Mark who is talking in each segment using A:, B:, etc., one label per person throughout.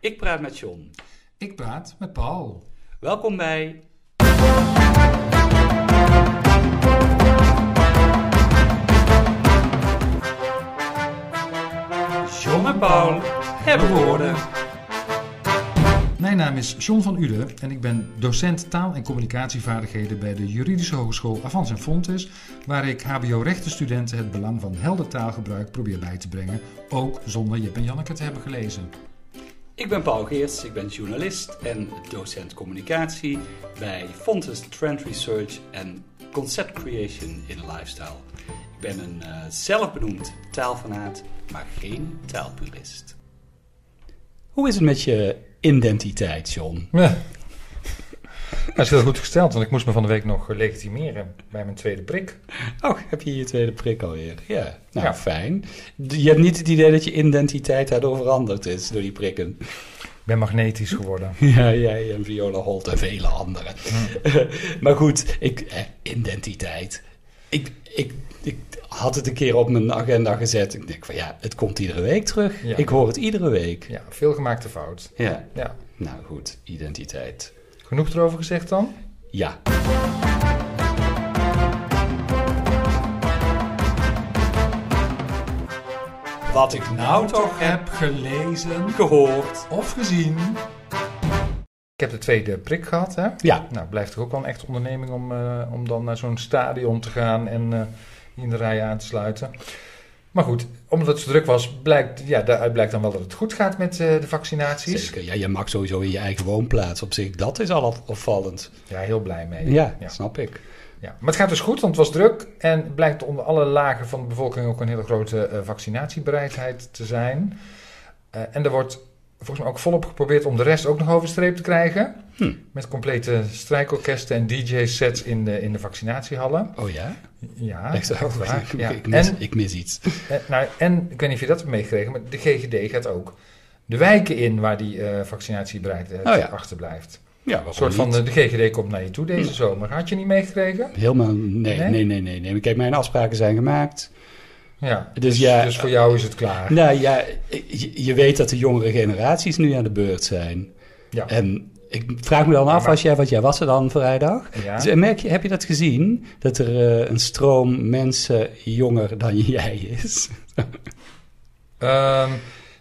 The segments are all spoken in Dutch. A: Ik praat met John.
B: Ik praat met Paul.
A: Welkom bij. John en Paul hebben woorden.
B: Mijn naam is John van Uden en ik ben docent taal- en communicatievaardigheden bij de Juridische Hogeschool Avans en Fontes, waar ik HBO-rechtenstudenten het belang van helder taalgebruik probeer bij te brengen, ook zonder Jip en Janneke te hebben gelezen.
A: Ik ben Paul Geerts, ik ben journalist en docent communicatie bij Fontes Trend Research en Concept Creation in Lifestyle. Ik ben een eh, zelfbenoemd taalfanaat, maar geen taalpurist. Hoe is het met je identiteit, John?
C: Ja. Dat is heel goed gesteld, want ik moest me van de week nog legitimeren bij mijn tweede prik.
A: Oh, heb je je tweede prik alweer? Ja, nou
C: Ja.
A: fijn. D- Je hebt niet het idee dat je identiteit daardoor veranderd is door die prikken.
C: Ik ben magnetisch geworden.
A: Ja, jij en Viola Holt en vele anderen. maar goed, ik, eh, identiteit. Ik, ik, ik had het een keer op mijn agenda gezet. Ik denk van ja, het komt iedere week terug.
C: Ja.
A: Ik hoor het iedere week.
C: Ja, veel gemaakte fout.
A: Ja,
C: Ja.
A: nou goed, identiteit.
C: Genoeg erover gezegd dan?
A: Ja. Wat ik nou toch heb
B: gelezen
A: gehoord.
B: of gezien.
C: Ik heb de tweede prik gehad, hè?
A: Ja,
C: Nou, blijft toch ook wel een echt onderneming om, eh, om dan naar zo'n stadion te gaan en eh, in de rij aan te sluiten. Maar goed, omdat het zo druk was, blijkt, ja, daaruit blijkt dan wel dat het goed gaat met eh, de vaccinaties.
A: zeker. Ja, je mag sowieso in je eigen woonplaats op zich. Dat is al opvallend.
C: Ja, heel blij mee.
A: Ja,
C: ja.
A: snap ik.
C: Ja, maar het gaat dus goed, want het was druk. En het blijkt onder alle lagen van de bevolking ook een hele grote eh, vaccinatiebereidheid te zijn. Eh, en er wordt volgens mij ook volop geprobeerd om de rest ook nog over de streep te krijgen.
A: Hm.
C: Met complete strijkorkesten en DJ-sets in de, in de vaccinatiehallen.
A: Oh ja?
C: Ja,
A: Echt
C: echt waar.
A: Ik,
C: Ja.
A: ik, mis,
C: En,
A: ik mis iets.
C: eh, nou, en ik weet niet of je dat hebt meegekregen, maar de GGD gaat ook de wijken in waar die eh, vaccinatiebereidheid
A: Oh ja.
C: achterblijft.
A: Ja,
C: Een soort van, eh, de GGD komt naar je toe
A: Hm.
C: deze zomer. Had je niet meegekregen?
A: Helemaal, nee, nee,
C: Nee?
A: nee, nee, nee. Kijk, mijn afspraken zijn gemaakt.
C: Ja,
A: Dus ja,
C: dus voor jou is het klaar.
A: Nou ja, je, je weet dat de jongere generaties nu aan de beurt zijn.
C: Ja.
A: En ik vraag me dan af,
C: maar-
A: als jij, wat jij was er dan vrijdag?
C: Ja.
A: Dus, eh, merk je, heb je dat gezien? Dat er eh, een stroom mensen jonger dan jij is?
C: Ehm,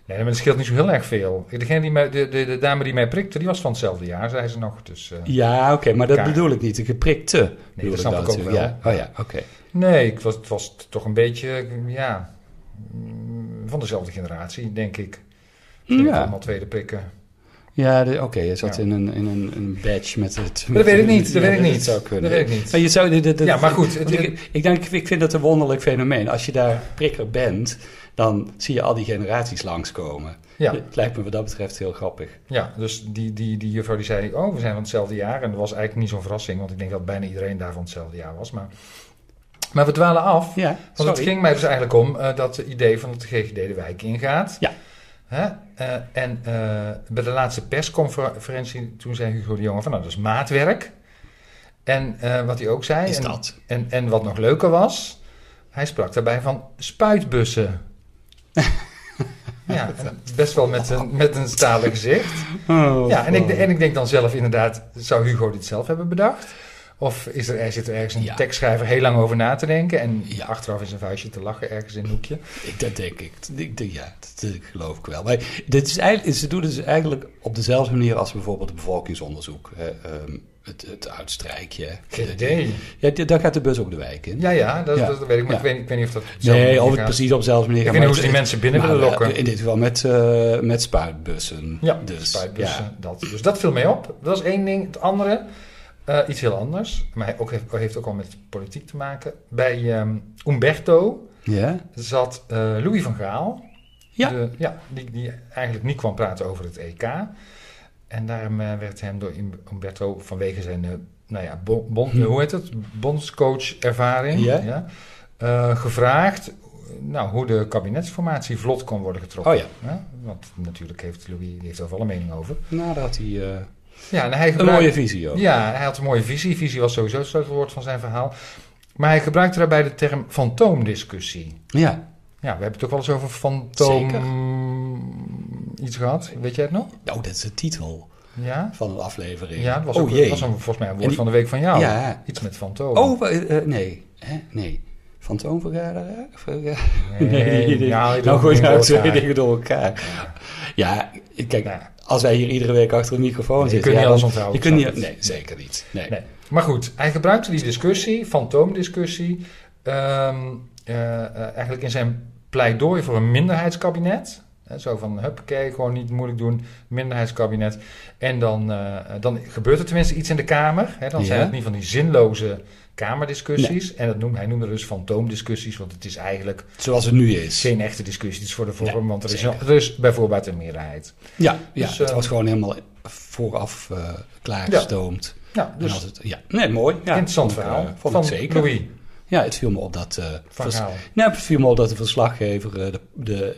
C: nee, maar dat scheelt niet zo heel erg veel. Degene die mij, de, de, de dame die mij prikte, die was van hetzelfde jaar, zei ze nog. Dus, eh,
A: Ja, oké, maar dat
C: Elkaar.
A: bedoel ik niet. De geprikte. bedoel
C: dat snap ik ook
A: natuurlijk.
C: wel.
A: Ja? Oh ja, oké.
C: Nee, ik was, het was toch een beetje, ja, mm, van dezelfde generatie, denk ik. Ik denk
A: Ja.
C: Allemaal tweede prikken.
A: Ja, de- oké, je zat
C: Ja.
A: in, een, in een, een badge met het...
C: dat weet ik niet, dat
A: Ja,
C: weet ik niet.
A: zou kunnen.
C: Dat weet ik niet.
A: Maar je zou, dit- dit- dit-
C: Ja, maar goed,
A: want
C: het-
A: ik, ik, denk, ik vind dat een wonderlijk fenomeen. Als je daar prikker bent, dan zie je al die generaties langskomen.
C: Ja,
A: Het lijkt me wat dat betreft heel grappig.
C: ja dus die, die, die juffrouw die zei, oh, we zijn van hetzelfde jaar. En dat was eigenlijk niet zo'n verrassing, want ik denk dat bijna iedereen daar van hetzelfde jaar was. Maar, maar we dwalen af.
A: Ja,
C: Want
A: sorry.
C: het ging mij dus eigenlijk om eh, dat het idee van dat de GGD de wijk ingaat.
A: Ja.
C: Hè? Eh, en eh, bij de laatste persconferentie, toen zei Hugo de Jonge van nou, dat is maatwerk. En eh, wat hij ook zei,
A: Is
C: en,
A: dat?
C: En, en wat nog leuker was, hij sprak daarbij van spuitbussen. ja, en best wel met een, met een stalen gezicht.
A: Oh,
C: Ja, en
A: wow.
C: ik, en ik denk dan zelf inderdaad, zou Hugo dit zelf hebben bedacht? Of is er, er zit er ergens een
A: Ja.
C: tekstschrijver heel lang over na te denken en
A: Ja.
C: achteraf is een vuistje te lachen ergens in een hoekje?
A: Ik- Dat denk ik. Ik denk, ja, dat eh, geloof ik wel. Maar dit is eigenlijk, ze doen het dus eigenlijk op dezelfde manier als bijvoorbeeld het bevolkingsonderzoek. hè, ehm, het, het uitstrijkje.
C: Geen idee.
A: Ja, d- daar gaat de bus ook de wijk in.
C: Ja, ja, dat,
A: Ja.
C: dat weet ik, maar
A: Ja.
C: ik, weet, ik weet niet of dat. op dezelfde
A: Nee,
C: manier
A: of het
C: gaat.
A: precies op dezelfde manier
C: Ik
A: gaat,
C: weet niet
A: maar
C: hoe ze die
A: het-
C: mensen binnen
A: maar
C: willen
A: wel-
C: lokken.
A: In dit geval met, eh, met spuitbussen.
C: Ja,
A: dus,
C: spuitbussen,
A: ja.
C: Dat. Dus dat viel mij op. Dat is één ding. Het andere, eh, iets heel anders, maar ook, heeft, heeft ook al met politiek te maken. Bij ehm Umberto
A: Ja?
C: zat eh, Louis van Gaal.
A: Ja.
C: De- ja die, die eigenlijk niet kwam praten over het EK. En daarom eh, werd hem door Im- Umberto vanwege zijn, eh, nou ja, bon, bon- hoe heet het? Bondscoach ervaring.
A: Hm.
C: eh,
A: Ja.
C: gevraagd nou, hoe de kabinetsformatie vlot kon worden getrokken.
A: Oh ja,
C: Ja, want natuurlijk heeft Louis die heeft er wel een mening over.
A: nou, daar had hij eh,
C: Ja, en hij
A: een
C: gebruikt-
A: mooie visie ook.
C: Ja, hij had een mooie visie. Visie was sowieso het sleutelwoord van zijn verhaal. Maar hij gebruikte daarbij de term fantoomdiscussie.
A: Ja.
C: Ja, we hebben het ook wel eens over fantoom...
A: Zeker.
C: iets gehad? Weet jij het nog?
A: Nou, dat is de titel
C: Ja?
A: van een aflevering.
C: Ja, dat was,
A: oh,
C: ook,
A: jee.
C: was een, volgens mij een
A: En
C: woord
A: die-
C: van de week van jou.
A: Ja.
C: Iets met fantoom.
A: Oh, eh, eh, nee. Hè? Nee. Fantoomvergaderen? Verga-
C: Nee, ja, je
A: eh,
C: doet
A: nou
C: het
A: goed,
C: niet
A: nou
C: door
A: twee
C: elkaar.
A: dingen door elkaar. Ja, kijk,
C: Nou,
A: als wij hier iedere week achter een microfoon
C: je
A: zitten...
C: kunt niet
A: ja,
C: alles
A: dan-
C: onthouden,
A: Je kunt
C: snap
A: niet,
C: ik.
A: nee, zeker niet. Nee.
C: Nee. Maar goed, hij gebruikte die discussie, fantoomdiscussie, ehm, eh, eh, eigenlijk in zijn pleidooi voor een minderheidskabinet. Hè, zo van, huppakee, gewoon niet moeilijk doen, minderheidskabinet. En dan, eh, dan gebeurt er tenminste iets in de Kamer. Hè, dan zijn
A: Ja.
C: het niet van die zinloze Kamerdiscussies. En dat noemde, hij noemde dus fantoomdiscussies, want het is eigenlijk
A: Zoals het nu is.
C: geen echte discussie. Het is voor de vorm,
A: Nee,
C: want er is,
A: zeker.
C: er is bijvoorbeeld een meerderheid.
A: Ja, ja
C: Dus, eh,
A: het was gewoon helemaal vooraf eh, klaargestoomd.
C: Nou,
A: En
C: dus
A: als het- ja. Nee, mooi. Ja,
C: interessant
A: vond ik,
C: verhaal
A: eh, vond
C: van
A: ik zeker.
C: Louis
A: Ja, het viel me op dat... eh,
C: van
A: vers-
C: Gaal.
A: Nou, het viel me op dat de verslaggever, eh, de, de,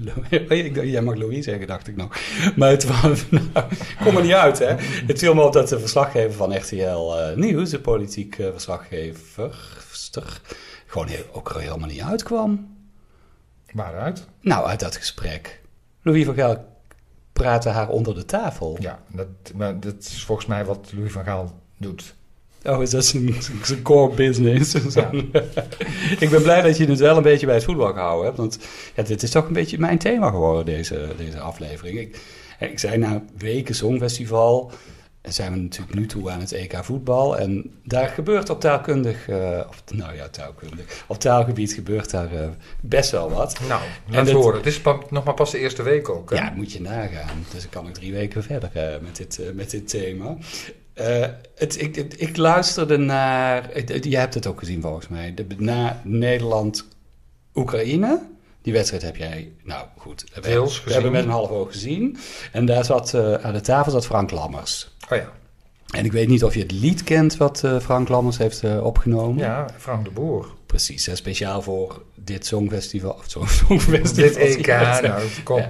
A: de, ik dacht, jij mag Louis zeggen, dacht ik nog. Maar het was, nou, kom er niet uit, hè. Het viel me op dat de verslaggever van RTL eh, Nieuws, de politiek eh, verslaggeverster, gewoon heel, ook er helemaal niet uitkwam.
C: Waaruit?
A: Nou, uit dat gesprek. Louis van Gaal praatte haar onder de tafel.
C: Ja, dat, maar dat is volgens mij wat Louis van Gaal doet.
A: Oh, is dat zijn, zijn core business?
C: Ja.
A: ik ben blij dat je het wel een beetje bij het voetbal gehouden hebt. Want ja, dit is toch een beetje mijn thema geworden, deze, deze aflevering. Ik, ik zei na weken Songfestival... zijn we natuurlijk nu toe aan het EK voetbal. En daar gebeurt op taalkundig... eh, of, nou ja, taalkundig. Op taalgebied gebeurt daar eh, best wel wat.
C: Nou,
A: En
C: laat
A: dit-
C: horen. Het is pa- nog maar pas de eerste week ook. hè?
A: Ja, moet je nagaan. Dus ik kan nog drie weken verder eh, met, dit, eh, met dit thema. Eh, het, ik, ik, ik luisterde naar. het- het- jij hebt het ook gezien volgens mij. De, na Nederland-Oekraïne. Die wedstrijd heb jij. Nou goed. We, hebben-
C: Deels
A: we hebben
C: gezien.
A: met een half oog gezien. En daar zat eh, aan de tafel zat Frank Lammers.
C: Oh ja.
A: En ik weet niet of je het lied kent wat eh, Frank Lammers heeft eh, opgenomen.
C: ja, Frank de Boer.
A: Precies. hè, speciaal voor dit Songfestival. Of zo- Songfestival.
C: Dit EK, nou, kom,
A: Ja,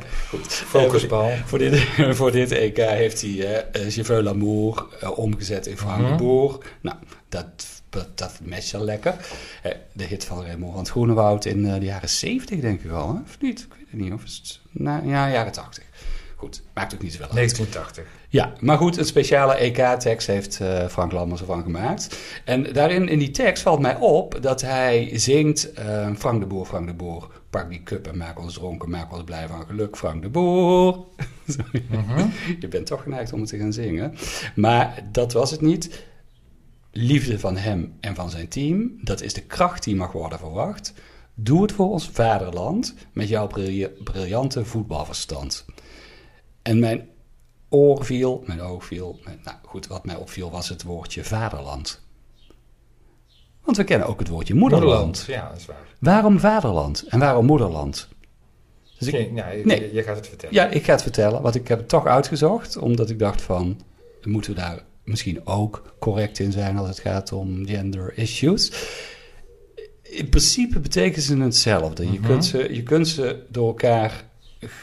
C: focusbal.
A: Voor dit, voor dit EK heeft hij eh, eh, Je veux l'amour eh, omgezet in Frank
C: Mhm.
A: de Boer. Nou, dat, dat, dat matcht wel lekker. Eh, de hit van Raymond van Groenewoud in eh, de jaren 70, denk ik wel. Hè? Of niet? Ik weet het niet. Of is het, nou, ja, jaren 80. Goed, maakt ook niet zoveel uit.
C: 1980.
A: Ja, maar goed, een speciale EK-tekst heeft eh, Frank Lammers ervan gemaakt. En daarin, in die tekst, valt mij op dat hij zingt... eh, Frank de Boer, Frank de Boer, pak die cup en maak ons dronken, maak ons blij van geluk, Frank de Boer. Sorry.
C: Mhm.
A: Je bent toch geneigd om het te gaan zingen. Maar dat was het niet. Liefde van hem en van zijn team, dat is de kracht die mag worden verwacht. Doe het voor ons vaderland met jouw bril- briljante voetbalverstand. En mijn oor viel, mijn oog viel, mijn- nou goed, wat mij opviel was het woordje vaderland. Want we kennen ook het woordje moederland.
C: Ja, dat is waar.
A: Waarom vaderland en waarom moederland? Dus ik,
C: Oké, nou, je,
A: Nee.
C: je gaat het vertellen.
A: ja, ik ga het vertellen, want ik heb het toch uitgezocht, omdat ik dacht van, moeten we daar misschien ook correct in zijn als het gaat om gender issues. In principe betekenen ze hetzelfde. Je,
C: Mhm.
A: kunt ze, je kunt ze door elkaar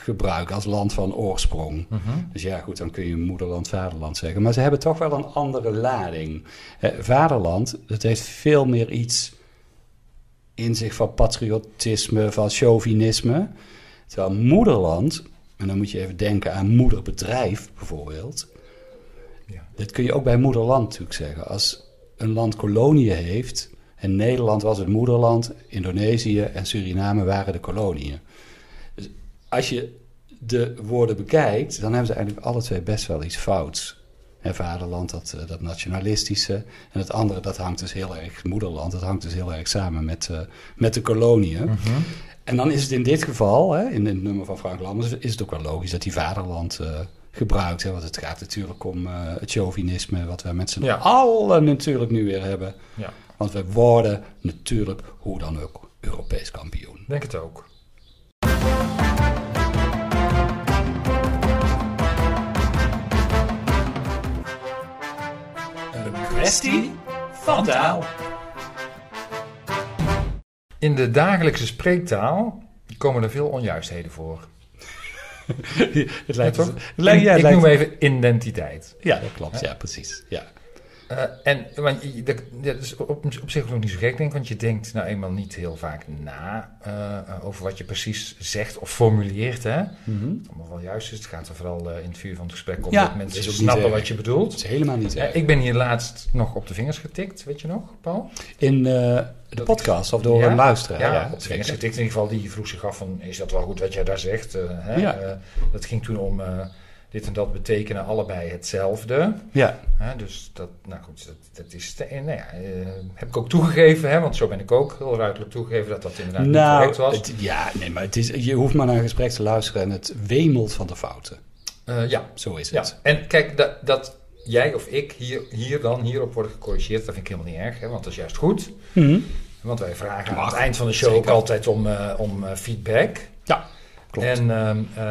A: gebruiken als land van oorsprong.
C: Mhm.
A: Dus ja, goed, dan kun je moederland, vaderland zeggen. Maar ze hebben toch wel een andere lading. Eh, vaderland, dat heeft veel meer iets in zich van patriotisme, van chauvinisme. Terwijl moederland, en dan moet je even denken aan moederbedrijf bijvoorbeeld.
C: Ja.
A: Dat kun je ook bij moederland natuurlijk zeggen. Als een land koloniën heeft, en Nederland was het moederland, Indonesië en Suriname waren de koloniën. Dus als je de woorden bekijkt, dan hebben ze eigenlijk alle twee best wel iets fouts. En vaderland, dat, eh, dat nationalistische. En het andere, dat hangt dus heel erg, moederland, dat hangt dus heel erg samen met, eh, met de koloniën.
C: Mhm.
A: En dan is het in dit geval, hè, in het nummer van Frank Lammers, is het ook wel logisch dat hij vaderland eh, gebruikt. Hè, want het gaat natuurlijk om eh, het chauvinisme, wat wij met z'n
C: Ja.
A: allen natuurlijk nu weer hebben.
C: Ja.
A: Want we worden natuurlijk hoe dan ook Europees kampioen.
C: Denk het ook.
A: Kwestie van taal.
C: In de dagelijkse spreektaal komen er veel onjuistheden voor.
A: het lijkt
C: Ja,
A: toch?
C: toch? ik noem even identiteit.
A: Ja, dat klopt. Ja, precies. Ja.
C: Eh, en want je- je- dat, dat is op, op zich ook niet zo gek, denk ik, want je denkt nou eenmaal niet heel vaak na eh, over wat je precies zegt of formuleert. Hè?
A: Mhm.
C: Allemaal wel juist is, het gaat er vooral eh, in het vuur van het gesprek om
A: Ja,
C: dat mensen
A: is ook niet
C: snappen
A: erg.
C: wat je
A: Dat
C: bedoelt.
A: is helemaal niet
C: Eh,
A: erg.
C: ik ben hier laatst nog op de vingers getikt, weet je nog, Paul?
A: In eh, de podcast of door
C: Ja?
A: een luisteraar.
C: Eh, Ja,
A: Ja,
C: op de
A: zeker.
C: vingers getikt in ieder geval. Die vroeg zich af van, is dat wel goed wat jij daar zegt? Eh, hè?
A: Ja.
C: Eh, dat ging toen om eh, dit en dat betekenen allebei hetzelfde.
A: ja.
C: Hè, dus dat, nou goed, dat, dat is. te- en nou ja, eh, heb ik ook toegegeven, hè, want zo ben ik ook heel ruidelijk toegegeven dat dat inderdaad niet correct
A: nou,
C: was.
A: het- ja, nee, maar het is, je hoeft maar naar een gesprek te luisteren en het wemelt van de fouten.
C: Eh, ja,
A: Zo is
C: ja.
A: het.
C: En kijk, dat, dat jij of ik hier, hier dan hierop worden gecorrigeerd, dat vind ik helemaal niet erg, hè, want dat is juist goed.
A: Mhm.
C: Want wij vragen aan
A: Mag,
C: het eind van de show
A: zeker.
C: ook altijd om, eh, om eh, feedback.
A: Ja, klopt.
C: En ehm, eh,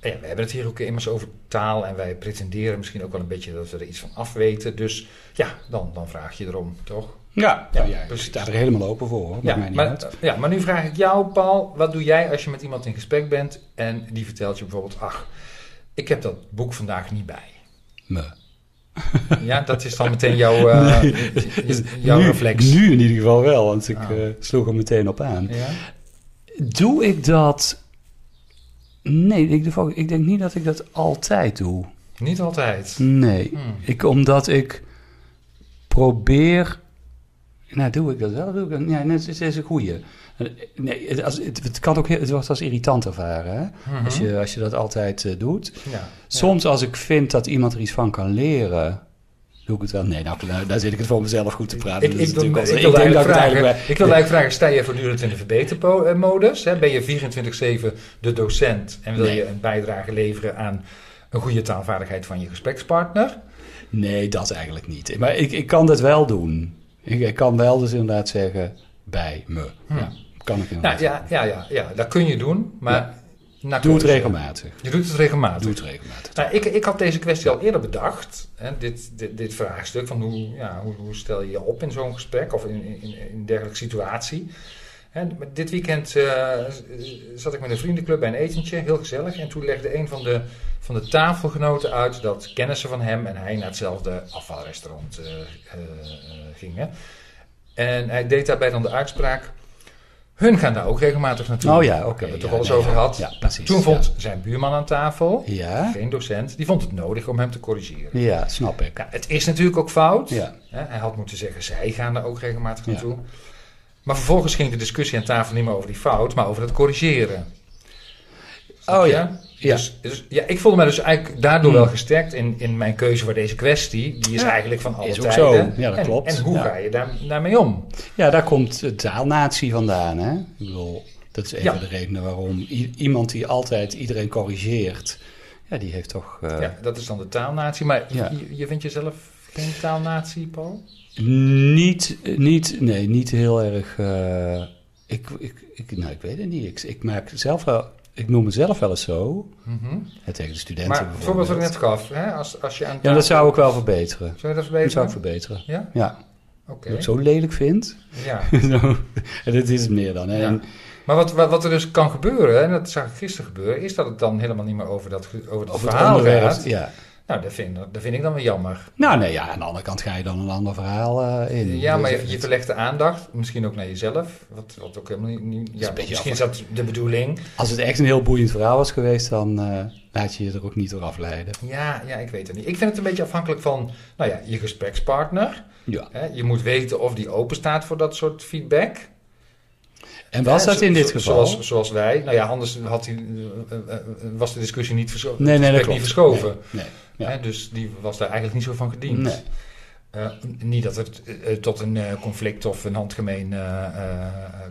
C: ja, we hebben het hier ook immers over taal en wij pretenderen misschien ook wel een beetje dat we er iets van afweten. Dus ja, dan, dan vraag je erom, toch?
A: ja,
C: Ja,
A: nou ja, ik
C: precies.
A: sta er helemaal open voor hoor.
C: Ja
A: Maakt mij niet uit.
C: maar, ja, maar nu vraag ik jou, Paul, wat doe jij als je met iemand in gesprek bent en die vertelt je bijvoorbeeld, ach, ik heb dat boek vandaag niet bij.
A: Me.
C: Ja, dat is dan meteen jouw, eh, jouw
A: nu,
C: reflex.
A: Nu in ieder geval wel, want ik
C: Ah.
A: eh, sloeg er meteen op aan.
C: Ja?
A: Doe ik dat? Nee, ik, doe- ik denk niet dat ik dat altijd doe.
C: Niet altijd.
A: Nee,
C: Hmm.
A: ik, omdat ik probeer. Nou, doe ik dat wel? Doe ik dat? Ja, net het is een goeie. Nee, het, als, het, het kan ook heel- het wordt als irritant ervaren hè?
C: Mhm.
A: Als, je, als je dat altijd eh, doet.
C: Ja.
A: Soms als ik vind dat iemand er iets van kan leren, doe ik het wel. Nee, nou, daar- daar zit ik het voor mezelf goed te praten.
C: Ik,
A: Ah, Dat is
C: ik, wil- ik,
A: natuurlijk wel-
C: wil eigenlijk
A: het
C: vragen,
A: eigenlijk
C: ik wil eigenlijk vragen, sta je voortdurend in de verbetermodus? Hè? Ben je 24-7 de docent en wil
A: Nee.
C: je een bijdrage leveren aan een goede taalvaardigheid van je gesprekspartner?
A: Nee, dat eigenlijk niet. Maar ik, ik kan dat wel doen. Ik, ik kan wel dus inderdaad zeggen, bij me.
C: Hmm.
A: Ja, kan ik inderdaad.
C: Nou ja, ja, ja, ja, dat kun je doen, maar...
A: Ja.
C: naar
A: Doe het
C: keuze.
A: regelmatig.
C: Je doet het regelmatig.
A: Doe het regelmatig.
C: Nou, ik, ik had deze kwestie al eerder bedacht, hè, dit, dit, dit vraagstuk van hoe, ja, hoe, hoe stel je je op in zo'n gesprek of in, in, in een dergelijke situatie. Hè, maar dit weekend eh, zat ik met een vriendenclub bij een etentje, heel gezellig. En toen legde een van de, van de tafelgenoten uit dat kennissen van hem en hij naar hetzelfde afvalrestaurant eh, eh, gingen. En hij deed daarbij dan de uitspraak, hun gaan daar ook regelmatig naartoe.
A: Oh ja, oké.
C: Daar hebben we het
A: ja,
C: toch wel eens
A: ja,
C: over
A: ja.
C: gehad.
A: Ja, precies.
C: Toen vond zijn buurman aan tafel
A: Ja,
C: geen docent, die vond het nodig om hem te corrigeren.
A: ja snap ik.
C: Nou, het is natuurlijk ook fout.
A: Ja.
C: Hè, Hij had moeten zeggen, zij gaan er ook regelmatig
A: Ja.
C: naartoe. Maar vervolgens ging de discussie aan tafel niet meer over die fout, maar over het corrigeren. Snap
A: Oh
C: je?
A: ja, ja. Hmm.
C: Dus, dus- ja, ik voelde me dus eigenlijk daardoor wel gesterkt in, in mijn keuze voor deze kwestie. Die is
A: Ja.
C: eigenlijk van alle
A: Is ook
C: tijden.
A: zo. Ja, dat
C: en,
A: klopt.
C: En hoe
A: Ja.
C: ga je daar, daarmee om?
A: Ja, daar komt de taalnatie vandaan. Hè? Ik bedoel, dat is een
C: Ja.
A: van de redenen waarom i- iemand die altijd iedereen corrigeert, ja, die heeft toch. eh,
C: Ja, dat is dan de taalnatie. Maar je-
A: Ja.
C: je, je vindt jezelf geen taalnatie, Paul?
A: Niet, niet, nee, niet heel erg. eh, ik, ik, ik, nou, ik weet het niet. Ik, ik maak zelf wel, ik noem mezelf wel eens zo.
C: Mhm.
A: hè, Tegen de studenten
C: Maar bijvoorbeeld
A: bijvoorbeeld.
C: wat ik net gaf, hè? Als, als je aan
A: Ja, dat zou ik wel verbeteren.
C: Zou je dat verbeteren?
A: Dat zou ik verbeteren.
C: Ja?
A: Ja,
C: Oké.
A: dat ik zo lelijk vind.
C: Ja.
A: Zo, en dit is het meer dan. Hè?
C: Ja.
A: En
C: Maar wat, wat, wat er dus kan gebeuren, en dat zag ik gisteren gebeuren, is dat het dan helemaal niet meer over dat, ge- over dat
A: Over het
C: verhaal
A: onderwerp.
C: gaat.
A: Ja.
C: Nou, dat vind, dat vind ik dan weer jammer.
A: Nou, nee, ja, aan de andere kant ga je dan een ander verhaal eh, in.
C: Ja, maar
A: Dus,
C: je, je verlegt de aandacht, misschien ook naar jezelf, wat, wat ook helemaal niet... niet-
A: is
C: ja,
A: een beetje
C: misschien is dat de bedoeling.
A: Als het echt een heel boeiend verhaal was geweest, dan eh, laat je je er ook niet door afleiden.
C: Ja, ja, ik weet het niet. Ik vind het een beetje afhankelijk van, nou ja, je gesprekspartner.
A: Ja.
C: Hè? Je moet weten of die open staat voor dat soort feedback.
A: En was
C: Hè,
A: dat
C: zo-
A: in dit
C: zo-
A: geval?
C: Zoals, zoals wij. Nou ja, anders had die, eh, eh, eh, was de discussie niet, verscho-
A: nee, nee,
C: het
A: dat
C: gesprek
A: klopt.
C: niet verschoven.
A: Nee, nee, ja.
C: Hè, dus die was daar eigenlijk niet zo van gediend.
A: Nee.
C: Eh, niet dat het eh, tot een eh, conflict of een handgemeen eh, eh,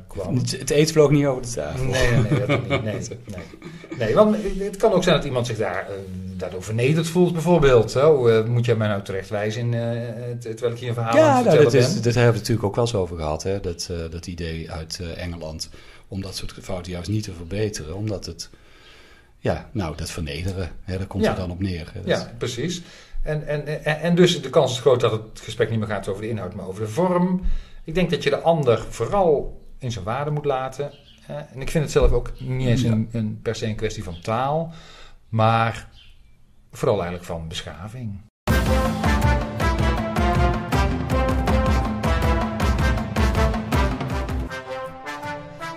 C: kwam.
A: Het, het eten vloog niet over de tafel.
C: Nee, nee, nee, dat ook niet. Nee, nee. nee, want het kan ook zijn dat iemand zich daar, eh, daardoor vernederd voelt, bijvoorbeeld. Hè? Hoe, eh, moet jij mij nou terechtwijzen in, eh, eh, terwijl ik hier een verhaal aan
A: Ja,
C: het
A: nou,
C: vertellen
A: dat, is,
C: ben?
A: dat hebben we natuurlijk ook wel eens over gehad, hè? Dat, eh, dat idee uit eh, Engeland. Om dat soort fouten juist niet te verbeteren, omdat het. Ja, nou, dat vernederen, hè, daar komt
C: Ja.
A: het dan op neer. hè, dat-
C: Ja, precies. En, en, en, en dus de kans is groot dat het gesprek niet meer gaat over de inhoud, maar over de vorm. Ik denk dat je de ander vooral in zijn waarde moet laten. hè. En ik vind het zelf ook niet eens een, een, per se een kwestie van taal, maar vooral eigenlijk van beschaving.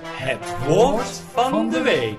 A: Het woord van de week.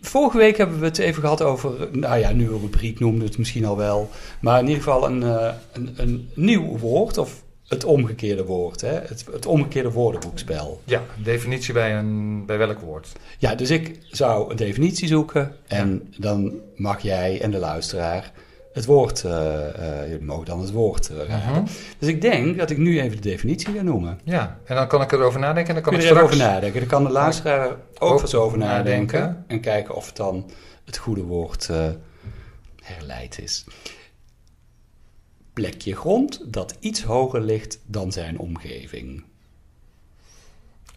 A: Vorige week hebben we het even gehad over, nou ja, nieuwe rubriek noemde het misschien al wel. Maar in ieder geval een, eh, een, een nieuw woord of het omgekeerde woord. Hè? Het, het omgekeerde woordenboekspel.
C: Ja, definitie bij, een, bij welk woord?
A: Ja, dus ik zou een definitie zoeken en dan mag jij en de luisteraar het woord, eh, eh, jullie mogen dan het woord eh, raden.
C: Mhm.
A: Dus ik denk dat ik nu even de definitie ga noemen.
C: Ja, en dan kan ik erover nadenken en dan
A: Kun
C: kan
A: je er
C: ik
A: even
C: straks...
A: over nadenken. Dan kan de luisteraar er ook
C: Ook
A: eens over nadenken.
C: nadenken.
A: En kijken of het dan het goede woord eh, herleid is. Plekje grond dat iets hoger ligt dan zijn omgeving.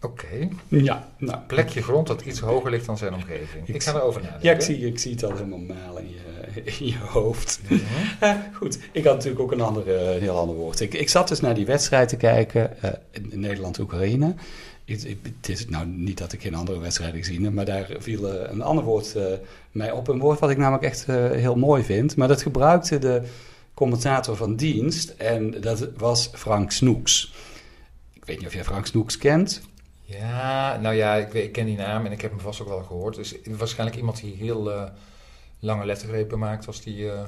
C: Oké,
A: Ja, nou.
C: plekje grond dat iets hoger ligt dan zijn omgeving.
A: Ik-
C: Ik ga erover nadenken.
A: Ja, ik zie, ik zie het al helemaal malen in je, in je hoofd.
C: Mhm.
A: Eh, goed, ik had natuurlijk ook een, andere, een heel ander woord. Ik, ik zat dus naar die wedstrijd te kijken, eh, in- in Nederland-Oekraïne. Het, het is nou niet dat ik geen andere wedstrijden gezien heb, maar daar viel eh, een ander woord eh, mij op. Een woord wat ik namelijk echt eh, heel mooi vind. Maar dat gebruikte de commentator van dienst en dat was Frank Snoeks. Ik weet niet of jij Frank Snoeks kent.
C: Ja, nou ja, ik, weet- ik ken die naam en ik heb hem vast ook wel gehoord. Dus waarschijnlijk iemand die heel eh, lange lettergrepen maakt als die eh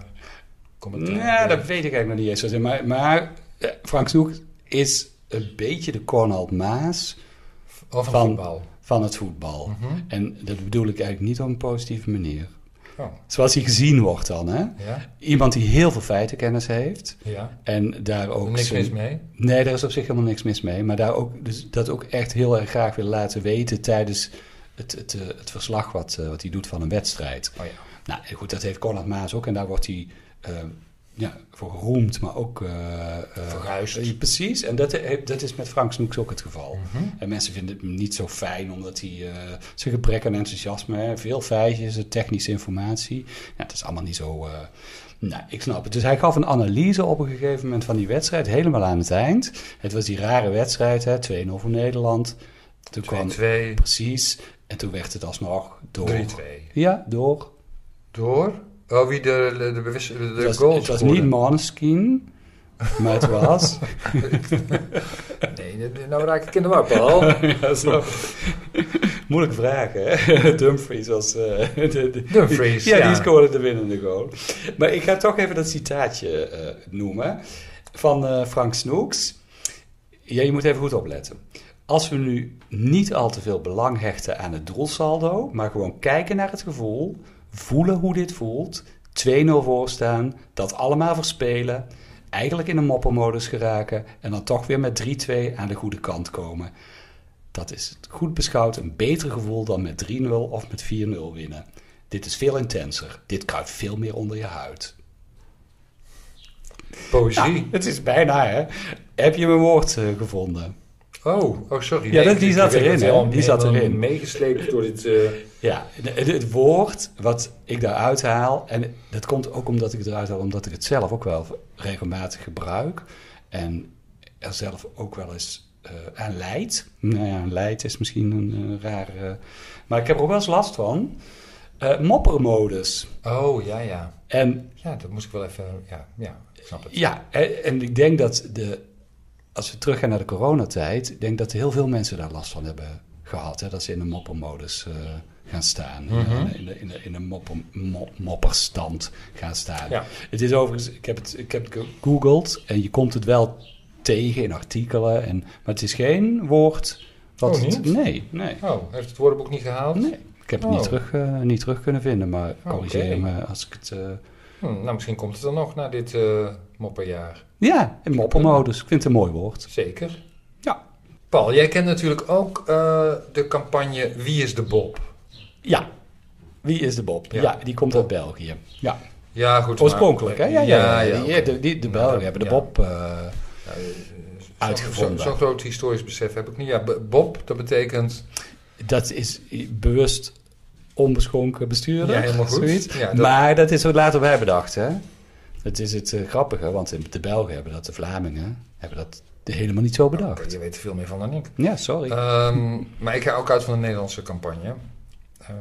C: commentaar.
A: Nou, dat
C: geeft.
A: weet ik eigenlijk nog niet eens. zozeer, Maar, maar eh, Frank Snoeks is een beetje de Cornald Maas
C: Oh, van,
A: van-
C: voetbal.
A: van het voetbal.
C: Mhm.
A: En dat bedoel ik eigenlijk niet op een positieve manier.
C: Oh,
A: Zoals hij gezien wordt dan, hè?
C: ja,
A: Iemand die heel veel feitenkennis heeft
C: ja.
A: en daar ook...
C: Niks
A: zijn-
C: mis mee.
A: Nee, daar is op zich helemaal niks mis mee. Maar daar ook, dus dat ook echt heel erg graag wil laten weten tijdens het, het, eh, het verslag wat, eh, wat hij doet van een wedstrijd.
C: Oh ja.
A: Nou, en goed, dat heeft Conrad Maas ook en daar wordt hij eh, ja, voor geroemd, maar ook... eh, eh,
C: Verguisd.
A: eh, Precies, en dat, eh, dat is met Frank Snoeks ook het geval.
C: Mhm.
A: En mensen vinden het niet zo fijn omdat hij eh, zijn gebrek aan enthousiasme, hè, veel feitjes, eh, technische informatie. Ja, het is allemaal niet zo. eh, nou, ik snap het. Dus hij gaf een analyse op een gegeven moment van die wedstrijd, helemaal aan het eind. Het was die rare wedstrijd, hè, 2-0 voor Nederland. Toen kwam
C: 2-2,
A: precies. En toen werd het alsnog door.
C: 3-2.
A: Ja, door.
C: Door? Oh, wie de, de, de, bewis- de, de
A: het was,
C: goals
A: het was
C: scoorde.
A: niet Måneskin, maar het was.
C: Nee, nee, nee, nou raak ik in de war, Paul.
A: Ja, zo. Moeilijke vraag, hè? Dumfries was... eh, de, de-
C: Dumfries,
A: ja, die
C: ja.
A: scoorde de winnende goal. Maar ik ga toch even dat citaatje eh, noemen van eh, Frank Snoeks. Ja, je moet even goed opletten. Als we nu niet al te veel belang hechten aan het doelsaldo, maar gewoon kijken naar het gevoel, voelen hoe dit voelt, 2-0 voorstaan, dat allemaal verspelen, eigenlijk in een moppermodus geraken en dan toch weer met 3-2 aan de goede kant komen. Dat is goed beschouwd een beter gevoel dan met 3-0 of met 4-0 winnen. Dit is veel intenser. Dit kruipt veel meer onder je huid.
C: Poëzie.
A: het is bijna, hè? Heb je mijn woord eh, gevonden?
C: Oh, oh, sorry.
A: Ja, dat- die
C: ik-
A: zat
C: ik werd
A: erin, hè?
C: helemaal-
A: Die zat
C: helemaal
A: erin.
C: Meegesleept door dit... eh,
A: Ja, de- de- het woord wat ik daaruit haal, en dat komt ook omdat ik het eruit haal, omdat ik het zelf ook wel regelmatig gebruik. En er zelf ook wel eens eh, aan leid. Nou ja, aan leid is misschien een eh, rare. eh, maar ik heb er ook wel eens last van. Eh, moppermodus.
C: Oh, ja, ja.
A: En
C: Ja, dat moest ik wel even. Ja, ja ik snap het.
A: Ja, en, en ik denk dat de, als we teruggaan naar de coronatijd, ik denk dat heel veel mensen daar last van hebben gehad. Hè? Dat ze in de moppermodus eh, gaan staan,
C: Mhm.
A: eh, in de, in de, in de mopper, mo- mopperstand gaan staan.
C: Ja.
A: Het is overigens, ik heb het, ik heb het gegoogeld en je komt het wel tegen in artikelen, en, maar het is geen woord wat.
C: Oh, niet?
A: Nee, nee.
C: Oh, heeft het woordenboek niet gehaald?
A: nee. Ik heb het niet,
C: Oh.
A: terug, eh, niet terug kunnen vinden, maar
C: Oh,
A: corrigeer
C: oké.
A: me als ik het. eh,
C: Hm, nou, misschien komt het dan nog na dit eh, mopperjaar.
A: ja, in moppermodus. Ik vind het een mooi woord.
C: Zeker.
A: Ja.
C: Paul, jij kent natuurlijk ook eh, de campagne Wie is de Bob?
A: Ja. Wie is de Bob? Ja,
C: Ja.
A: die komt uit België. Ja.
C: Ja, goed. maar-
A: Oorspronkelijk, hè? Ja, ja, ja.
C: ja,
A: Die-
C: oké.
A: de, die- de
C: Nou,
A: Belgen
C: dat-
A: hebben de
C: ja.
A: Bob. eh,
C: Ja, eh,
A: Uitgevonden.
C: Zo'n zo, zo'n groot historisch besef heb ik niet. Ja, b- Bob, dat betekent.
A: dat is bewust onbeschonken bestuurder.
C: Ja, helemaal goed.
A: Zoiets.
C: Ja, dat-
A: Maar dat is wat later wij bedacht, hè? Dat is het eh, grappige, want de Belgen hebben dat, de Vlamingen hebben dat helemaal niet zo bedacht.
C: Je weet er veel meer van dan ik.
A: Ja, sorry.
C: Ehm, maar ik ga ook uit van de Nederlandse campagne. Ehm,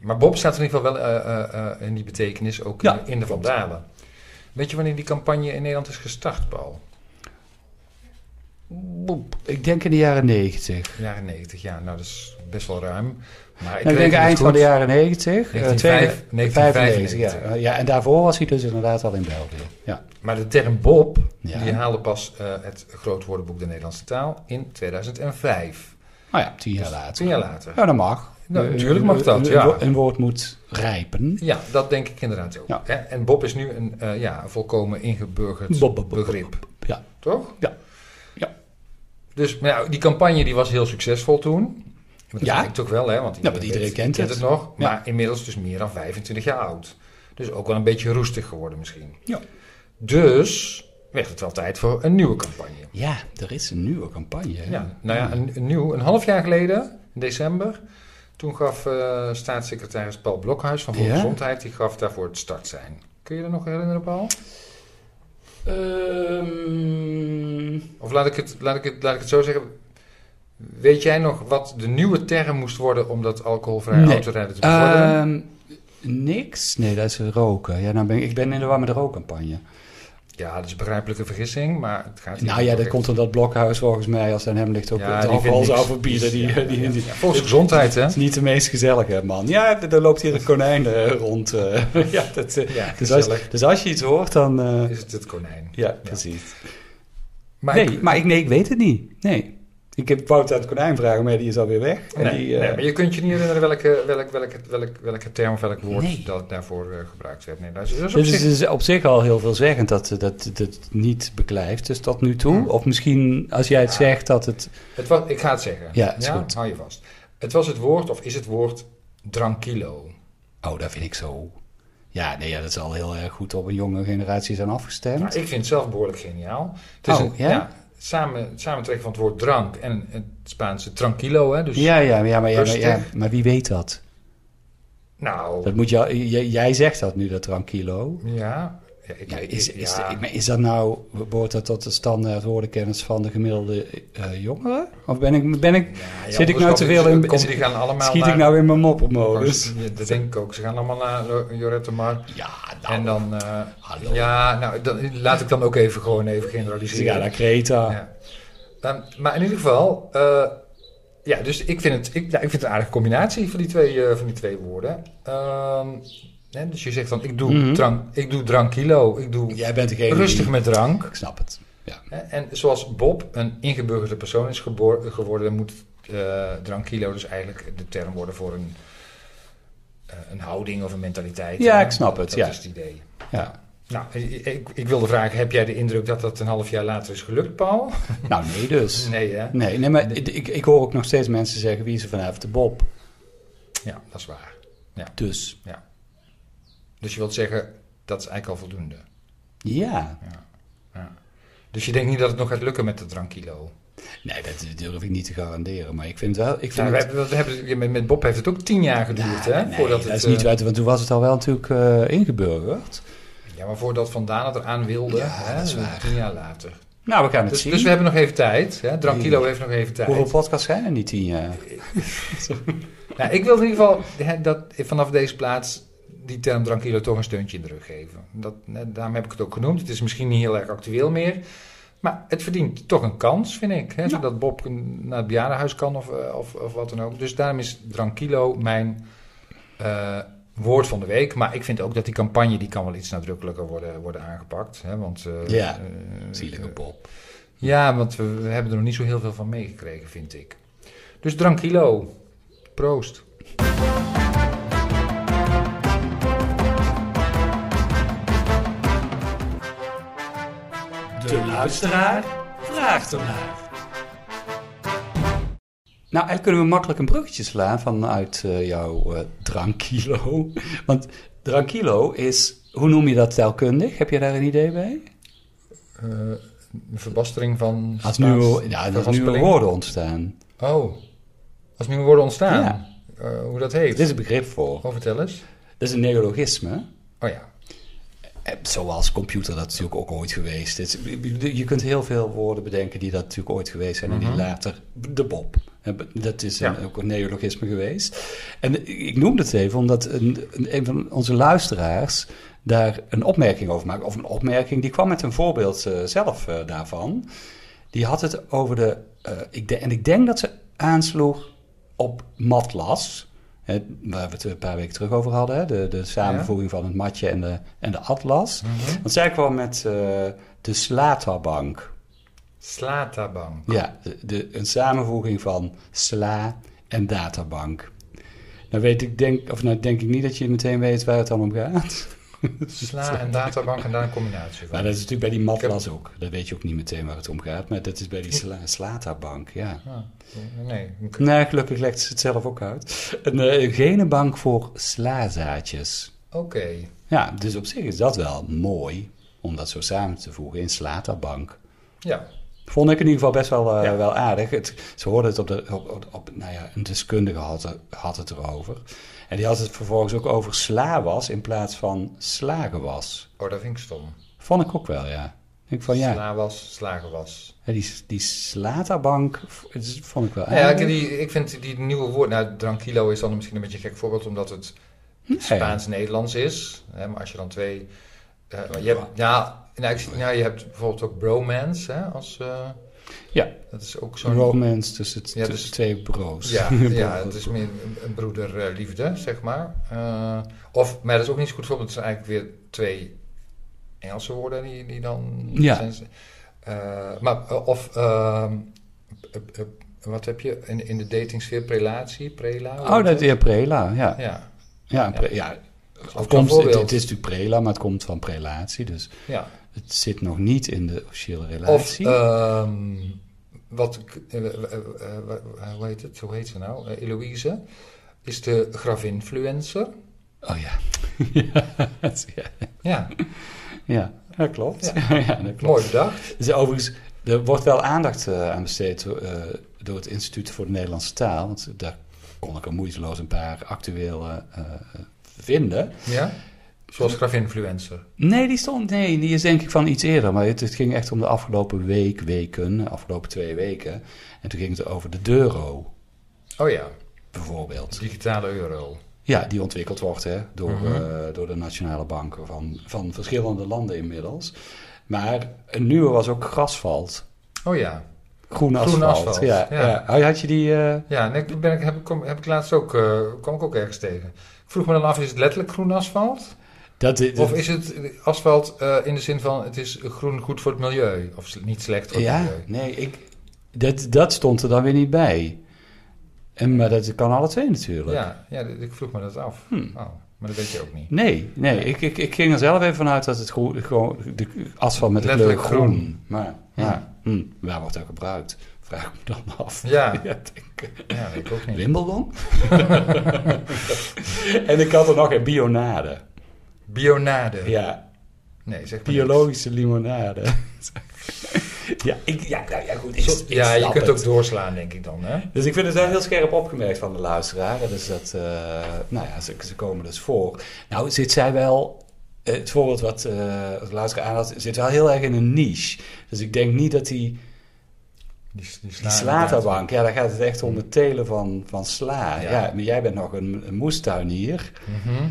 C: maar Bob staat in ieder geval wel eh, eh, eh, in die betekenis ook
A: Ja,
C: in, in de Vandalen. Weet je wanneer die campagne in Nederland is gestart, Paul?
A: boep, ik denk in de jaren negentig.
C: Jaren 90, ja, nou dat is best wel ruim. Maar
A: Nou, Ik, denk
C: reken het
A: eind van
C: goed.
A: de jaren negentig. eh,
C: 1995,
A: tweede- 95,
C: 1995,
A: ja. eh, ja. En daarvoor was hij dus inderdaad al in België. Ja.
C: Maar de term Bob,
A: Ja.
C: die haalde pas eh, het Groot Woordenboek de Nederlandse Taal in 2005.
A: Nou ja, tien jaar later.
C: Tien jaar later.
A: Ja, dat mag.
C: Nou,
A: Eh,
C: natuurlijk mag dat,
A: een- een
C: ja.
A: wo- Een woord moet rijpen.
C: Ja, dat denk ik inderdaad ook.
A: Hm? Ja.
C: Hè? En Bob is nu een eh, ja, een volkomen ingeburgerd
A: Bob, Bob, Bob,
C: begrip,
A: Ja.
C: toch?
A: Ja. Ja.
C: Dus maar ja, die campagne die was heel succesvol toen. Dat
A: Ja.
C: vind ik toch wel, hè? Want
A: want iedereen kent het.
C: het nog.
A: Ja.
C: Maar inmiddels dus meer dan 25 jaar oud. Dus ook wel een beetje roestig geworden misschien.
A: Ja.
C: Dus werd het wel tijd voor een nieuwe campagne.
A: ja, er is een nieuwe campagne. hè?
C: Ja, nou ja, een, een nieuw, een half jaar geleden, in december, toen gaf eh, staatssecretaris Paul Blokhuis van
A: Ja.
C: Volksgezondheid, die gaf daarvoor het start zijn. Kun je dat nog herinneren, Paul?
D: Ehm,
C: Of laat ik het, laat ik het, laat ik het zo zeggen. Weet jij nog wat de nieuwe term moest worden om dat alcoholvrij
A: Nee.
C: autorijden te bevorderen?
A: Ehm, niks? Nee, dat is roken. Ja, nou ben ik, ik ben in de war met de rookcampagne.
C: ja, dat is een begrijpelijke vergissing, maar het gaat hier
A: Nou ja,
C: ook
A: dat
C: echt-
A: komt omdat Blokhuis volgens mij als het aan hem ligt ook
C: Ja,
A: het
C: die
A: alcohol
C: vindt
A: zou
C: niks.
A: verbieden. Die,
C: Ja,
A: die,
C: ja,
A: die-
C: ja. Volksgezondheid, hè?
A: Dat is niet de meest gezellige man. Ja, er er loopt hier een konijn eh, rond. eh. ja, dat, eh,
C: Ja,
A: dus, als,
C: gezellig.
A: dus als je iets hoort, dan... eh,
C: Is het het konijn?
A: ja, precies.
C: Maar
A: nee,
C: ik-
A: maar ik, nee, ik weet het niet. Nee. Ik heb wou het aan het konijn vragen, maar die is alweer weg. En
C: Nee,
A: die, eh,
C: nee, maar je kunt je niet herinneren welke, welk, welke, welk, welke term of welk woord
A: Nee.
C: dat daarvoor eh, gebruikt werd. Nee, dat is, dat is op
A: Dus
C: zich-
A: het is op zich al heel veelzeggend dat eh, dat, dat het niet beklijft. Dus tot nu toe.
C: Hmm.
A: Of misschien als jij het
C: Ja.
A: zegt dat het...
C: Het was, ik ga het zeggen.
A: Ja, is goed.
C: hou je vast. Het was het woord, of is het woord, tranquilo.
A: Oh, dat vind ik zo... Ja, nee, ja, dat is al heel erg goed op een jonge generatie zijn afgestemd.
C: Nou, ik vind het zelf behoorlijk geniaal. Het is
A: Oh,
C: een,
A: ja?
C: het samen, het samentrekken van het woord drank en het Spaanse tranquilo. Hè, dus,
A: ja, ja, ja, maar, ja, maar,
C: rustig.
A: ja, maar wie weet dat?
C: Nou,
A: dat moet jou, j- jij zegt dat nu, dat tranquilo.
C: ja. ja, ik,
A: Ja,
C: ik-
A: is, is,
C: ja.
A: maar is dat nou, behoort dat tot de standaard woordenkennis van de gemiddelde eh, jongere? Of ben ik, ben ik,
C: Ja,
A: zit
C: ja,
A: ik
C: anders
A: nou
C: komt-
A: te veel in,
C: komt- die gaan allemaal
A: schiet
C: naar,
A: ik nou in mijn moppermodus?
C: Ja, dat denk ik ook. Ze gaan allemaal naar Lo- Jorette Mar.
A: Ja,
C: En
A: nou,
C: dan, eh,
A: Hallo.
C: ja, nou, dan, laat ik dan ook even gewoon even
A: ze
C: generaliseren.
A: gaan Dus naar Creta.
C: Ja. Ehm, maar in ieder geval, eh, ja, dus ik vind, het, ik, ja, ik vind het een aardige combinatie van die twee, eh, van die twee woorden. Ehm, hè, dus je zegt dan, ik doe,
A: Mhm.
C: drank, ik doe dranquilo, ik doe
A: Jij bent degene
C: rustig
A: die-
C: met drank.
A: Ik snap het. Ja.
C: Hè, En zoals Bob een ingeburgerde persoon is geboor- geworden, moet eh tranquilo dus eigenlijk de term worden voor een, eh, een houding of een mentaliteit.
A: Ja,
C: hè.
A: ik snap het,
C: Dat
A: ja.
C: is het idee.
A: Ja.
C: Nou, ik, ik- ik wilde vragen, heb jij de indruk dat dat een half jaar later is gelukt, Paul?
A: Nou, nee dus.
C: Nee, hè?
A: Nee, nee maar ik, ik- ik hoor ook nog steeds mensen zeggen, wie is er vanavond de Bob?
C: Ja, dat is waar.
A: Dus,
C: Dus je wilt zeggen, dat is eigenlijk al voldoende.
A: ja.
C: Dus je denkt niet dat het nog gaat lukken met de Tranquilo?
A: Nee, dat durf ik niet te garanderen, maar ik vind wel... Ik vind
C: Nou, we
A: het-
C: hebben, we hebben, met- met Bob heeft het ook tien jaar geduurd, hè?
A: Nee,
C: voordat
A: dat
C: het,
A: is niet
C: eh,
A: weten, want toen was het al wel natuurlijk eh, ingeburgerd.
C: Ja, maar voordat Van Daan het eraan wilde, hè?
A: dat is waar.
C: tien jaar later.
A: Nou, we gaan het
C: Dus,
A: zien.
C: dus we hebben nog even tijd. Hè? Tranquilo heeft nog even tijd.
A: Hoeveel podcasts zijn er niet tien jaar?
C: Nou, ik wil in ieder geval hè, dat vanaf deze plaats die term Tranquilo toch een steuntje in de rug geven. Dat, hè, daarom heb ik het ook genoemd. Het is misschien niet heel erg actueel meer. Maar het verdient toch een kans, vind ik. Hè, Zodat Bob een- naar het bejaardenhuis kan of, eh, of, of wat dan ook. Dus daarom is Tranquilo mijn eh, woord van de week. Maar ik vind ook dat die campagne die kan wel iets nadrukkelijker worden, worden aangepakt. Hè, want, eh,
A: Ja,
C: eh,
A: Zielige Bob.
C: ja, want we, we hebben er nog niet zo heel veel van meegekregen, vind ik. Dus tranquilo. Proost.
D: de luisteraar vraagt ernaar.
A: Nou, eigenlijk kunnen we makkelijk een bruggetje slaan vanuit eh, jouw eh drankilo. Want drankilo is, hoe noem je dat taalkundig? Heb je daar een idee bij?
C: Eh, een verbastering van...
A: Als nieuwe, ja, dat is nieuwe
C: vervaspeling.
A: woorden ontstaan.
C: Oh, als nieuwe woorden ontstaan.
A: Ja.
C: Eh, hoe dat
A: Er
C: heet.
A: is een begrip voor.
C: Oh, vertel eens.
A: Dat is een neologisme.
C: Oh ja.
A: Eh, Zoals computer dat natuurlijk ook ooit geweest is. Je kunt heel veel woorden bedenken die dat natuurlijk ooit geweest zijn. En die later de Bob. Eh, Dat is een,
C: Ja.
A: ook een neologisme geweest. En eh, ik noem het even omdat een, een, een van onze luisteraars daar een opmerking over maakte. Of een opmerking, die kwam met een voorbeeld eh, zelf eh, daarvan. Die had het over de. eh, ik de en ik denk dat ze aansloeg op matlas. Hè, waar we het een paar weken terug over hadden. Hè? De, de samenvoeging van het matje en de, en de atlas. Want zij kwam met eh, de Slatabank.
C: Slatabank.
A: Ja, de, de- een samenvoeging van sla en databank. Nou weet ik denk, of nou denk ik niet dat je meteen weet waar het dan om gaat.
C: Sla en databank en daar een combinatie
A: Maar
C: van.
A: dat is natuurlijk bij die matlas ook. Dat weet je ook niet meteen waar het om gaat. Maar dat is bij die sla, slatabank, ja.
C: Ah, nee, oké.
A: Nou, gelukkig legt ze het zelf ook uit. Een eh, genenbank voor slazaadjes.
C: Oké.
A: Ja, dus op zich is dat wel mooi om dat zo samen te voegen in slatabank.
C: Ja,
A: Vond ik in ieder geval best wel, eh,
C: Ja.
A: wel aardig. Het, ze hoorden het op de. Op, op, op- nou ja, een deskundige had, er- had het erover. En die had het vervolgens ook over slawas in plaats van slagenwas.
C: oh, dat vind ik stom.
A: Vond ik ook wel, ja. Ik denk van ja,
C: Sla was, slagen was.
A: hè, die, die slatabank v- het is- vond ik wel
C: Nou ja,
A: aardig.
C: ik, die, ik vind die nieuwe woord, nou, tranquilo is dan misschien een beetje een gek voorbeeld, omdat het Spaans-Nederlands is. Hè, maar als je dan twee. eh, maar je hebt, ja, nou, ik, zie- nou, je hebt bijvoorbeeld ook bromance, hè, als, eh,
A: Ja.
C: dat is ook
A: Zo'n
C: zo'n.
A: romance tussen, t-
C: Ja,
A: tussen
C: dus-
A: twee broers.
C: Ja, ja, het is meer een- een broederliefde, zeg maar. Eh, of, maar dat is ook niet zo goed voorbeeld, het zijn eigenlijk weer twee Engelse woorden die, die dan.
A: Ja.
C: zijn ze- Eh, maar, eh, of, ehm, eh, eh, wat heb je in, in de datingsfeer? Prelatie? Prela? hoe
A: Oh,
C: heet
A: dat is prela, ja.
C: Ja,
A: Ja, pre- ja.
C: Als
A: Komt, het,
C: voorbeeld.
A: het is natuurlijk prela, maar het komt van prelatie. Dus
C: ja.
A: het zit nog niet in de officiële
C: Of
A: relatie.
C: ehm, wat, ik- eh, eh, eh, eh, hoe heet het? Hoe heet ze nou? Eh, Eloïse is de gravinfluencer.
A: Oh ja. ja, het- ja.
C: Ja,
A: Ja, dat klopt. Ja. dat klopt.
C: mooi bedacht.
A: Dus overigens, er wordt wel aandacht eh, aan besteed eh, door het Instituut voor de Nederlandse Taal. Want daar kon ik er moeiteloos een paar actuele eh, vinden.
C: Ja, zoals gravinfluencer.
A: Nee, die stond. Nee, die is denk ik van iets eerder. Maar het, het ging echt om de afgelopen week, weken, de afgelopen twee weken. En toen ging het over de euro,
C: Oh ja,
A: bijvoorbeeld.
C: digitale euro.
A: Ja, die ontwikkeld wordt hè, door,
C: Mhm.
A: eh, door de nationale banken van, van verschillende landen inmiddels. Maar een nieuwe was ook grasvalt.
C: Oh ja.
A: Groen asfalt.
C: Groen asfalt,
A: Ja,
C: ja.
A: ja. Oh, Had je die. eh,
C: Ja, nee, ik ben ik, heb, ik, kom- heb ik laatst ook, eh, kwam ik ook ergens tegen. Ik vroeg me dan af, is het letterlijk groen asfalt?
A: dat,
C: Of is het asfalt eh, in de zin van het is groen goed voor het milieu? Of sl- niet slecht voor het
A: Ja,
C: milieu?
A: nee, ik, dat, dat stond er dan weer niet bij. En, maar dat kan alle twee natuurlijk.
C: Ja, ja, ik vroeg me dat af. Oh, maar dat weet je ook niet.
A: Nee, nee ik, ik, ik ging er zelf even vanuit dat het groen, gewoon de asfalt met de kleur
C: Letterlijk
A: groen.
C: groen.
A: Maar ja, hm, waar wordt dat gebruikt? Vraag ik me dan af.
C: Ja.
A: denk ik.
C: Ja, weet ik ook niet.
A: Wimbledon? en ik had er nog een bionade.
C: Bionade.
A: Ja,
C: Nee, zeg maar
A: Biologische limonade. ja, ik, ja, nou ja, goed. Ik,
C: niks.
A: ik
C: Ja, je
A: snap
C: kunt
A: het.
C: ook doorslaan, denk ik dan. Hè?
A: Dus ik vind het wel heel scherp opgemerkt van de luisteraar. hè, Dus dat, eh, nou ja, ze, ze komen dus voor. Nou zit zij wel... eh, Het voorbeeld wat eh, de luisteraar aan had, zit wel heel erg in een niche. Dus ik denk niet dat die,
C: Die, die,
A: die
C: slaan
A: slaterbank... Ja, daar gaat het echt om het telen van, van sla.
C: Ja.
A: Ja. maar jij bent nog een, een moestuinier.
C: inderdaad. Mhm.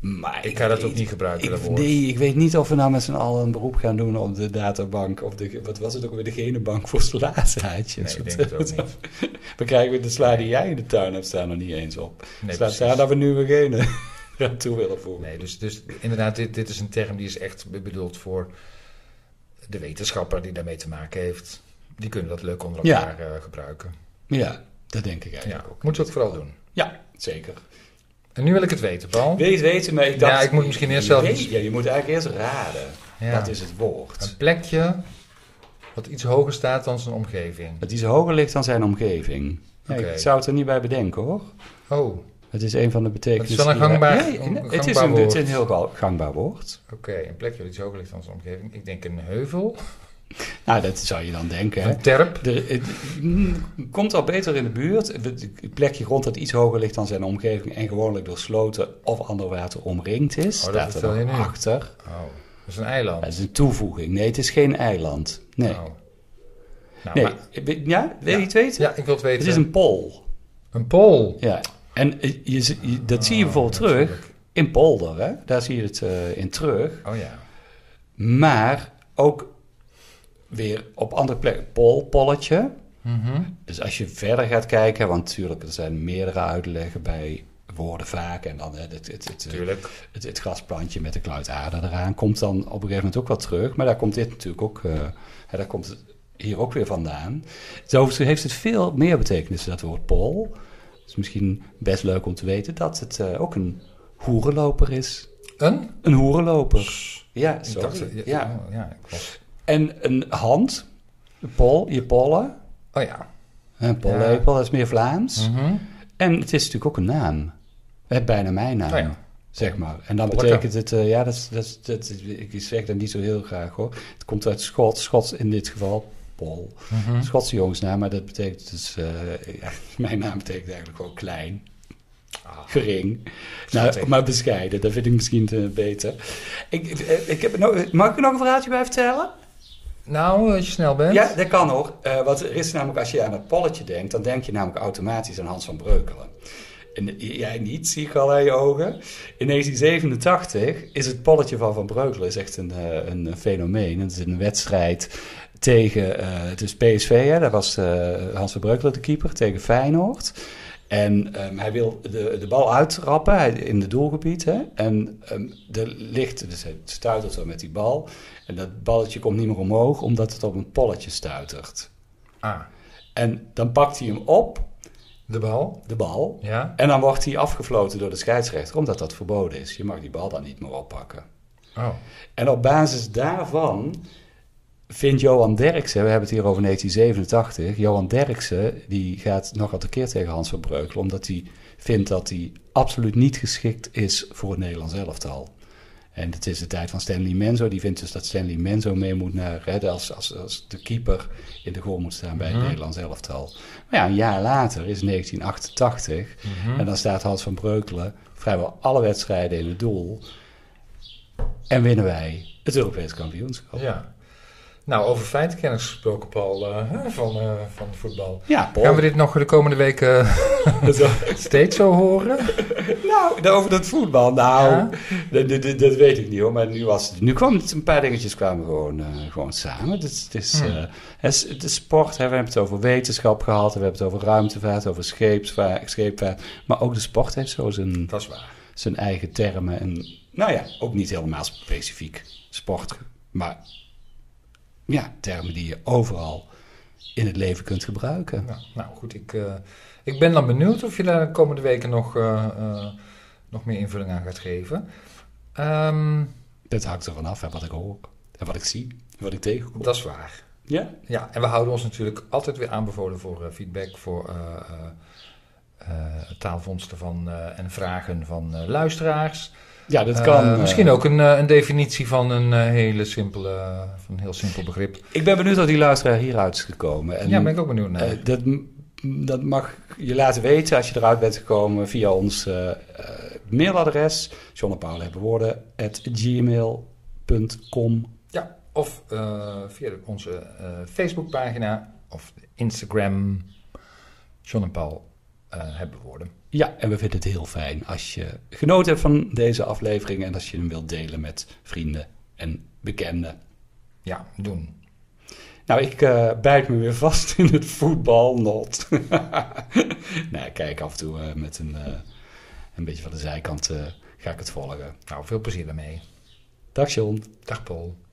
A: Maar
C: Ik ga dat ook niet gebruiken,
A: Ik,
C: dat woord.
A: nee, ik weet niet of we nou met z'n allen een beroep gaan doen op de databank. Of de, wat was het ook weer, de genenbank voor
C: Nee,
A: slazaadjes.
C: ik denk het ook niet.
A: We krijgen weer de sla die jij in de tuin hebt staan nog niet eens op.
C: Nee,
A: Slaat
C: precies.
A: daar dat we nieuwe genen aan toe willen voegen.
C: Nee, dus, dus inderdaad, dit, dit is een term die is echt be- bedoeld voor de wetenschapper die daarmee te maken heeft. Die kunnen dat leuk onder
A: Ja.
C: elkaar eh, gebruiken.
A: Ja, dat denk ik
C: Ja,
A: eigenlijk ook.
C: moeten we ook vooral doen.
A: Ja, zeker.
C: En nu wil ik het weten, Paul.
A: Wil je het weten, maar ik
C: Ja,
A: dacht...
C: ik moet misschien eerst
A: je
C: zelf
A: weet-
C: iets-
A: Ja, je moet eigenlijk eerst raden.
C: Ja.
A: Dat is het woord.
C: Een plekje wat iets hoger staat dan zijn omgeving.
A: Dat iets hoger ligt dan zijn omgeving. Ja,
C: Oké.
A: Ik zou het er niet bij bedenken, hoor.
C: Oh, oké.
A: Het is een van de betekenissen.
C: Het is wel een
A: die wij-
C: gangbaar-
A: Ja,
C: een
A: het, is
C: gangbaar
A: een, het is
C: woord.
A: een heel ga- gangbaar woord.
C: Een plekje wat iets hoger ligt dan zijn omgeving. Ik denk een heuvel,
A: Nou, dat zou je dan denken. Hè?
C: een terp.
A: Er, het mm, komt al beter in de buurt. Het plekje grond dat iets hoger ligt dan zijn omgeving en gewoonlijk door sloten of ander water omringd is,
C: Oh, dat
A: staat
C: vertel
A: er
C: je
A: dan
C: nu.
A: achter.
C: Oh, dat is een
A: Ja,
C: eiland.
A: dat is een toevoeging. Nee, het is geen eiland. Nee.
C: Oh. Nou,
A: nee.
C: maar-
A: Ik weet- Ja, wil je
C: Ja.
A: het weten?
C: ja, ik eh, wil het
A: Het
C: weten.
A: is een pol.
C: een pool.
A: Ja. En eh, je, z- je- dat zie je
C: Oh,
A: bijvoorbeeld
C: dat
A: terug
C: zie ik.
A: in polder. Hè? Daar zie je het eh, in terug.
C: Oh ja.
A: Maar ook weer op andere plekken. Pol, polletje.
C: Mhm.
A: Dus als je verder gaat kijken, want natuurlijk, er zijn meerdere uitleggen bij woorden vaak. En dan hè, het, het, het, eh,
C: Tuurlijk.
A: het, het grasplantje met de kluitader eraan komt dan op een gegeven moment ook wel terug. Maar daar komt dit natuurlijk ook, eh, hè, daar komt het hier ook weer vandaan. Zo heeft het veel meer betekenis, dat woord pol. Het is misschien best leuk om te weten dat het eh, ook een hoerenloper is.
C: Een?
A: Een hoerenloper. Ja,
C: Ik
A: zo.
C: dacht, ja,
A: ja.
C: ja. ja, ik was-
A: En een hand, een pol, je pollen.
C: Oh ja. Mhm.
A: Een pollepel, dat is meer Vlaams. En het is natuurlijk ook een naam. Hè, Bijna mijn naam,
C: Oh ja.
A: zeg maar. En dan
C: Polleke.
A: betekent het, eh, ja, dat, is- dat, is- dat, is- ik zeg dat niet zo heel graag hoor. Het komt uit Schots, Schots in dit geval, Pol.
C: Mhm.
A: Schotse jongensnaam, maar dat betekent dus, eh, ja, mijn naam betekent eigenlijk gewoon klein. Gering. Nou, maar bescheiden, dat vind ik misschien te beter. Ik, ik, ik heb, nog- mag ik er nog een verhaaltje bij vertellen?
C: Nou, als je snel bent.
A: Ja, dat kan hoor. Eh want er is namelijk, als je aan het polletje denkt, dan denk je namelijk automatisch aan Hans van Breukelen. En jij niet, zie ik al aan je ogen. In 1987 is het polletje van Van Breukelen is echt een, eh, een fenomeen. Het is een wedstrijd tegen, eh het is PSV, hè? daar was eh, Hans van Breukelen de keeper, tegen Feyenoord. En ehm, hij wil de, de bal uittrappen hij- in het doelgebied. Hè? En ehm er ligt, dus hij stuitert zo met die bal. En dat balletje komt niet meer omhoog, omdat het op een polletje stuitert.
C: Ah,
A: En dan pakt hij hem op,
C: de bal.
A: de bal.
C: Ja.
A: En dan wordt hij afgefloten door de scheidsrechter, omdat dat verboden is. Je mag die bal dan niet meer oppakken.
C: Oh.
A: En op basis daarvan vindt Johan Derksen, we hebben het hier over 1987, Johan Derksen die gaat nogal tekeer tegen Hans van Breukelen, omdat hij vindt dat hij absoluut niet geschikt is voor het Nederlands elftal. En het is de tijd van Stanley Menzo. Die vindt dus dat Stanley Menzo mee moet naar redden als, als, als de keeper in de goal moet staan bij het Nederlands elftal. Maar ja, een jaar later is 1988
C: mhm. Hm?
A: en dan staat Hans van Breukelen vrijwel alle wedstrijden in het doel. En winnen wij het Europees kampioenschap.
C: Ja. Nou, over feitenkennis gesproken, Paul, eh, hè, van, eh, van voetbal.
A: Ja, Paul.
C: Gaan we dit nog de komende weken eh,
A: Zo-
C: steeds zo horen?
A: nou, over dat voetbal, nou,
C: Ja.
A: dat, dat- dat- dat weet ik niet hoor. Maar nu, was het, nu kwam het, een paar dingetjes kwamen gewoon, eh, gewoon samen. Dus het
C: Hm.
A: is, eh, het is, het is sport, hè. we hebben het over wetenschap gehad, we hebben het over ruimtevaart, over scheepvaart, scheepvaart. Maar ook de sport heeft zo zijn,
C: Dat is waar.
A: zijn eigen termen. En nou ja, ook niet helemaal specifiek sport, maar ja, termen die je overal in het leven kunt gebruiken.
C: Nou, nou goed, ik, eh, ik ben dan benieuwd of je daar de komende weken nog, eh, eh, nog meer invulling aan gaat geven. Ehm,
A: Dat hangt ervan af, hè, wat ik hoor. En wat ik zie. En wat ik tegenkom.
C: dat is waar.
A: Ja?
C: Ja, en we houden ons natuurlijk altijd weer aanbevolen voor eh, feedback, voor eh eh, eh, taalvondsten van, eh, en vragen van eh, luisteraars.
A: Ja, dat
C: Eh,
A: kan. eh,
C: misschien ook een, eh, een definitie van een eh, hele simpele, van een heel simpel begrip.
A: Ik ben benieuwd dat die luisteraar hieruit is gekomen. En,
C: ja, ben ik ook benieuwd naar.
A: eh, dat, m- dat mag je laten weten als je eruit bent gekomen via ons eh, eh, mailadres. John en Paul hebben woorden. At gmail.com.
C: ja, of eh, via de- onze eh, Facebookpagina of Instagram. John en Paul eh, hebben woorden.
A: Ja, en we vinden het heel fijn als je genoten hebt van deze aflevering. En als je hem wilt delen met vrienden en bekenden.
C: Ja, doen.
A: Nou, ik eh, bijt me weer vast in het voetbalnot. nou, ik kijk af en toe eh, met een, eh, een beetje van de zijkant eh, ga ik het volgen.
C: Nou, veel plezier daarmee.
A: Dag John.
C: Dag Paul.